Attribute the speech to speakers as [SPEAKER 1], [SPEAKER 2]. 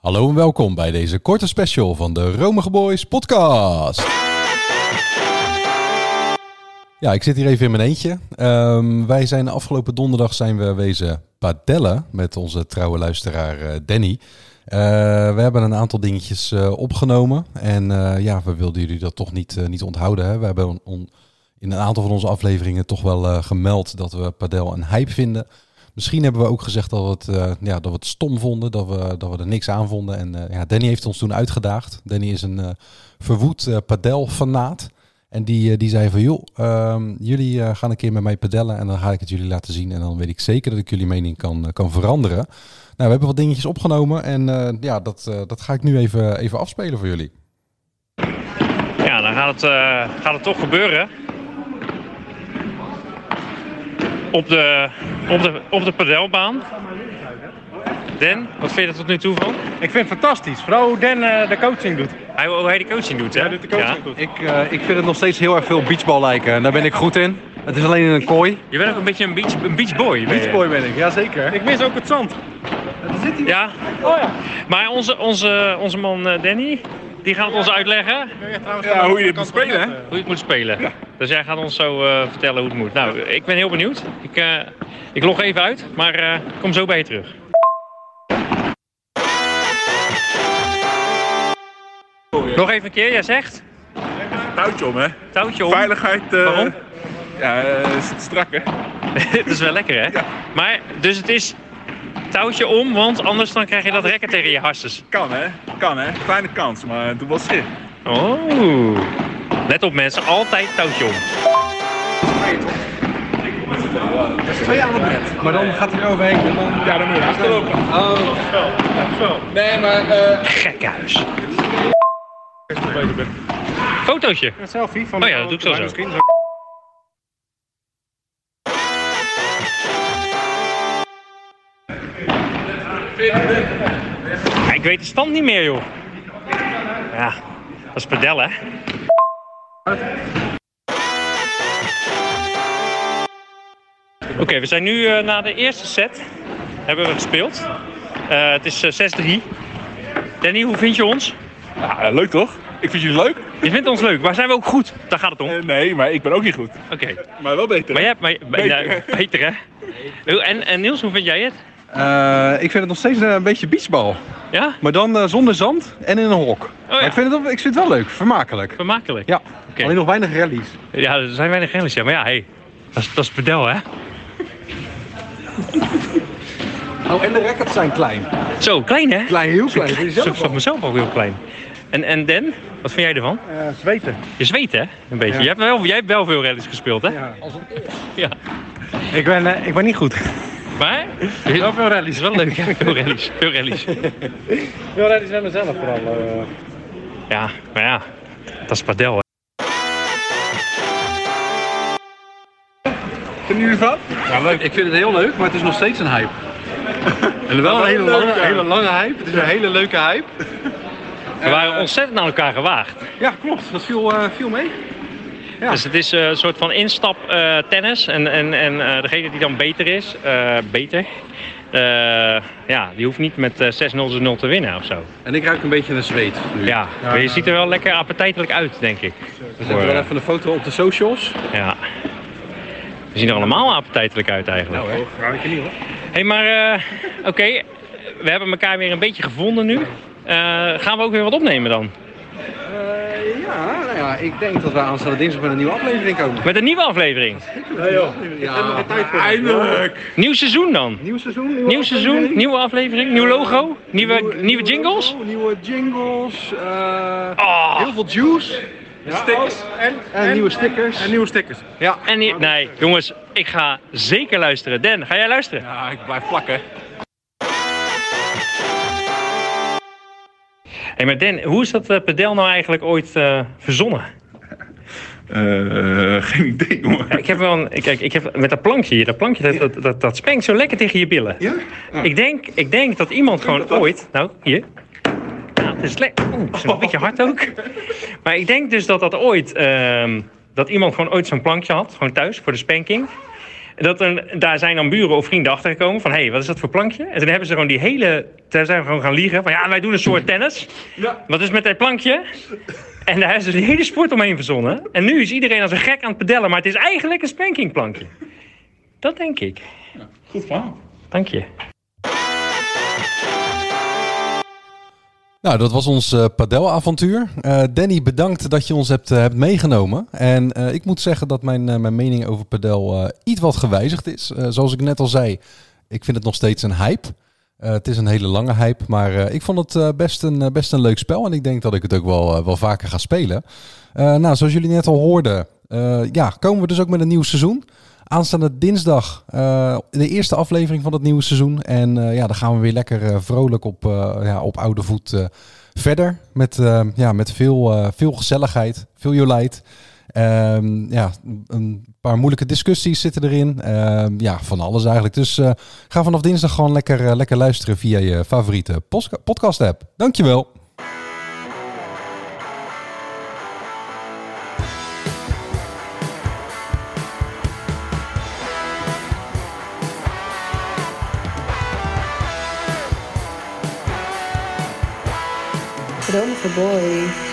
[SPEAKER 1] Hallo en welkom bij deze korte special van de Romige Boys podcast. Ja, ik zit hier even in mijn eentje. Ehm, wij zijn afgelopen donderdag zijn we wezen padellen met onze trouwe luisteraar eh, Danny. Eh, we hebben een aantal dingetjes eh, opgenomen en eh, ja, we wilden jullie dat toch niet, eh, niet onthouden. Hè? We hebben on- on- in een aantal van onze afleveringen toch wel eh, gemeld dat we padel een hype vinden. Misschien hebben we ook gezegd dat we het, eh, ja, dat we het stom vonden, dat we, dat we er niks aan vonden. En eh, ja, Danny heeft ons toen uitgedaagd. Danny is een eh, verwoed eh padelfanaat. En die, eh, die zei van, joh, ehm, jullie eh, gaan een keer met mij padellen en dan ga ik het jullie laten zien. En dan weet ik zeker dat ik jullie mening kan, eh, kan veranderen. Nou, we hebben wat dingetjes opgenomen en eh, ja, dat, eh, dat ga ik nu even, even afspelen voor jullie.
[SPEAKER 2] Ja, dan gaat het, eh, gaat het toch gebeuren. Op de, op de, op de padelbaan. Den, wat vind je er tot nu toe van?
[SPEAKER 3] Ik vind het fantastisch. Vooral hoe Dan eh, de coaching doet.
[SPEAKER 2] Hij, hoe hij de coaching doet, hè?
[SPEAKER 3] Hij doet de coaching goed.
[SPEAKER 4] Ik, eh, ik vind het nog steeds heel erg veel beachbal lijken. En daar ben ik goed in. Het is alleen in een kooi.
[SPEAKER 2] Je bent ook een beetje een, beach, een beachboy. ben je?
[SPEAKER 4] ben ik, jazeker.
[SPEAKER 3] Ik mis ook het zand.
[SPEAKER 2] Ja,
[SPEAKER 3] Oh ja.
[SPEAKER 2] maar onze, onze, onze man eh, Danny, die gaat ons uitleggen
[SPEAKER 3] Ja, hoe je dit moet spelen, hè?
[SPEAKER 2] hoe je het moet spelen. Dus jij gaat ons zo eh, vertellen hoe het moet. Nou, ik ben heel benieuwd. Ik, eh, ik log even uit, maar eh, ik kom zo bij je terug. Nog even een keer, jij zegt?
[SPEAKER 5] touwtje om, hè?
[SPEAKER 2] Touwtje om.
[SPEAKER 5] Veiligheid. eh,
[SPEAKER 2] Waarom?
[SPEAKER 5] Ja, eh, st- strak, hè?
[SPEAKER 2] Dit is wel lekker, hè? Maar, dus het is touwtje om, want anders dan krijg je dat rekken tegen je harses.
[SPEAKER 5] Kan, hè? Kan, hè? Kleine kans, maar toen was het schip.
[SPEAKER 2] Oh. Let op mensen, altijd touwtje om.
[SPEAKER 4] Maar dan gaat hij overheen en dan...
[SPEAKER 5] Ja, dan moet je achterlopen.
[SPEAKER 4] Nee, maar... eh
[SPEAKER 2] Gekhuis. Fotootje.
[SPEAKER 3] Een selfie van
[SPEAKER 2] Oh ja, dat doe ik zo zo.
[SPEAKER 3] Misschien
[SPEAKER 2] Ja, ik weet de stand niet meer, joh. Ja, dat is padel, hè? Oké, we zijn nu eh, na de eerste set. Hebben we gespeeld. Eh, het is eh, 6-3. Danny, hoe vind je ons?
[SPEAKER 5] Ja, eh, leuk toch? Ik vind jullie leuk?
[SPEAKER 2] Je vindt ons leuk, maar zijn we ook goed? Daar gaat het om.
[SPEAKER 5] Eh, nee, maar ik ben ook niet goed.
[SPEAKER 2] Oké.
[SPEAKER 5] Maar wel beter.
[SPEAKER 2] Maar jij hebt... Maar,
[SPEAKER 5] Beter.
[SPEAKER 2] nou, beter, hè? Hoe- En, en Niels, hoe vind jij het?
[SPEAKER 4] eh, ik vind het nog steeds eh, een beetje beachbal.
[SPEAKER 2] Ja?
[SPEAKER 4] Maar dan eh, zonder zand en in een hok.
[SPEAKER 5] Oh,
[SPEAKER 4] Maar ik, vind het, wel- ik vind het wel leuk, vermakelijk.
[SPEAKER 2] Vermakelijk.
[SPEAKER 4] Ja,
[SPEAKER 2] Oké.
[SPEAKER 4] alleen nog weinig rallies.
[SPEAKER 2] Ja, er zijn weinig renners, ja. Maar ja, hé. Dat is, dat is padel, hè?
[SPEAKER 4] Oh, en de rackets zijn klein.
[SPEAKER 2] Zo, klein, hè?
[SPEAKER 4] Klein, heel klein. Voor
[SPEAKER 2] Zo, ik
[SPEAKER 4] jezelf
[SPEAKER 2] zat
[SPEAKER 4] al.
[SPEAKER 2] mezelf ook heel klein. En, en Den, wat vind jij ervan?
[SPEAKER 3] eh, zweten.
[SPEAKER 2] Je zweet hè? Een beetje. Je hebt wel, jij hebt wel veel rallies gespeeld hè?
[SPEAKER 3] Ja.
[SPEAKER 2] Ja.
[SPEAKER 3] Ik, ben, eh, ik ben niet goed.
[SPEAKER 2] Maar? Wel veel rallies. Wel leuk hè? Veel rallies. Veel rallies.
[SPEAKER 3] Heel redelijk met mezelf vooral.
[SPEAKER 2] Ja, maar ja. Dat is padel hè?
[SPEAKER 5] Vinden jullie van?
[SPEAKER 4] Ik vind het heel leuk, maar het is nog steeds een hype. En wel een hele lange, hele lange hype. Het is een hele leuke hype.
[SPEAKER 2] We waren ontzettend aan elkaar gewaagd.
[SPEAKER 4] Ja, klopt. Dat viel, eh, viel mee. Ja.
[SPEAKER 2] Dus het is eh, een soort van instap eh, tennis. En, en, en eh, degene die dan beter is, eh, beter. eh, ja, die hoeft niet met eh, 6-0 0 te winnen of zo.
[SPEAKER 4] En ik ruik een beetje naar zweet nu.
[SPEAKER 2] Ja, maar je ziet er wel lekker appetijtelijk uit, denk ik.
[SPEAKER 4] We zetten wel
[SPEAKER 2] Voor, eh,
[SPEAKER 4] even een foto op de socials.
[SPEAKER 2] Ja. We zien er allemaal appetijtelijk uit eigenlijk.
[SPEAKER 4] Nou, hè.
[SPEAKER 2] Hé, hey, maar eh, oké, we hebben elkaar weer een beetje gevonden nu. Eh, gaan we ook weer wat opnemen dan?
[SPEAKER 4] Eh, ja, nou ja, ik denk dat we aanstaande dinsdag met een nieuwe aflevering komen.
[SPEAKER 2] Met een nieuwe aflevering.
[SPEAKER 4] Ja,
[SPEAKER 5] Eindelijk!
[SPEAKER 2] Nieuw seizoen dan.
[SPEAKER 4] nieuw seizoen, nieuwe
[SPEAKER 2] Nieuw seizoen,
[SPEAKER 4] aflevering.
[SPEAKER 2] nieuwe aflevering, nieuw logo, nieuwe, nieuwe, jingles.
[SPEAKER 4] logo, Nieuwe jingles, eh,
[SPEAKER 2] Ah.
[SPEAKER 4] heel veel juice
[SPEAKER 5] Stickers.
[SPEAKER 4] en, nieuwe stickers.
[SPEAKER 3] En nieuwe stickers.
[SPEAKER 4] ja.
[SPEAKER 2] En die- nee, jongens, ik ga zeker luisteren. Dan, ga jij luisteren?
[SPEAKER 5] Ja, ik blijf plakken.
[SPEAKER 2] Hé, hey, maar Dan, hoe is dat eh, padel nou eigenlijk ooit eh, verzonnen?
[SPEAKER 5] Eh, eh, geen idee, jongen.
[SPEAKER 2] Ja, Ik heb wel een, kijk, ik heb met dat plankje hier, dat plankje, dat, dat, dat, dat spenkt zo lekker tegen je billen.
[SPEAKER 5] Ja?
[SPEAKER 2] Ik denk, ik denk dat iemand gewoon ooit, nou, hier. Nou, het is lekker, oeh, het is een beetje hard ook. Maar ik denk dus dat dat ooit, ehm, dat iemand gewoon ooit zo'n plankje had, gewoon thuis, voor de spanking. Dat een, daar zijn dan buren of vrienden achtergekomen van... hé, hey, wat is dat voor plankje? En toen hebben ze gewoon die hele... Toen zijn we gewoon gaan liegen van... ja, wij doen een soort tennis. Wat is met dat plankje? En daar hebben ze de hele sport omheen verzonnen. En nu is iedereen als een gek aan het pedellen... maar het is eigenlijk een spankingplankje. Dat denk ik.
[SPEAKER 5] Goed verhaal.
[SPEAKER 2] Dank je.
[SPEAKER 1] Nou, dat was ons eh, padelavontuur. Eh, Danny, bedankt dat je ons hebt, eh, hebt meegenomen. En eh, ik moet zeggen dat mijn, eh, mijn mening over padel eh, iets wat gewijzigd is. Eh, zoals ik net al zei, ik vind het nog steeds een hype. Eh, het is een hele lange hype, maar eh, ik vond het eh, best, een, eh, best een leuk spel. En ik denk dat ik het ook wel, eh, wel vaker ga spelen. Eh, nou, zoals jullie net al hoorden, eh, ja, komen we dus ook met een nieuw seizoen. Aanstaande dinsdag eh, de eerste aflevering van het nieuwe seizoen. En eh, ja, dan gaan we weer lekker eh, vrolijk op, eh, ja, op oude voet eh, verder. Met, eh, ja, met veel, eh, veel gezelligheid, veel jolijt. Ehm, ja, een paar moeilijke discussies zitten erin. Ehm, ja, van alles eigenlijk. Dus eh, ga vanaf dinsdag gewoon lekker, eh, lekker luisteren via je favoriete posca- podcast app. Dankjewel.
[SPEAKER 6] Dromen voor boys.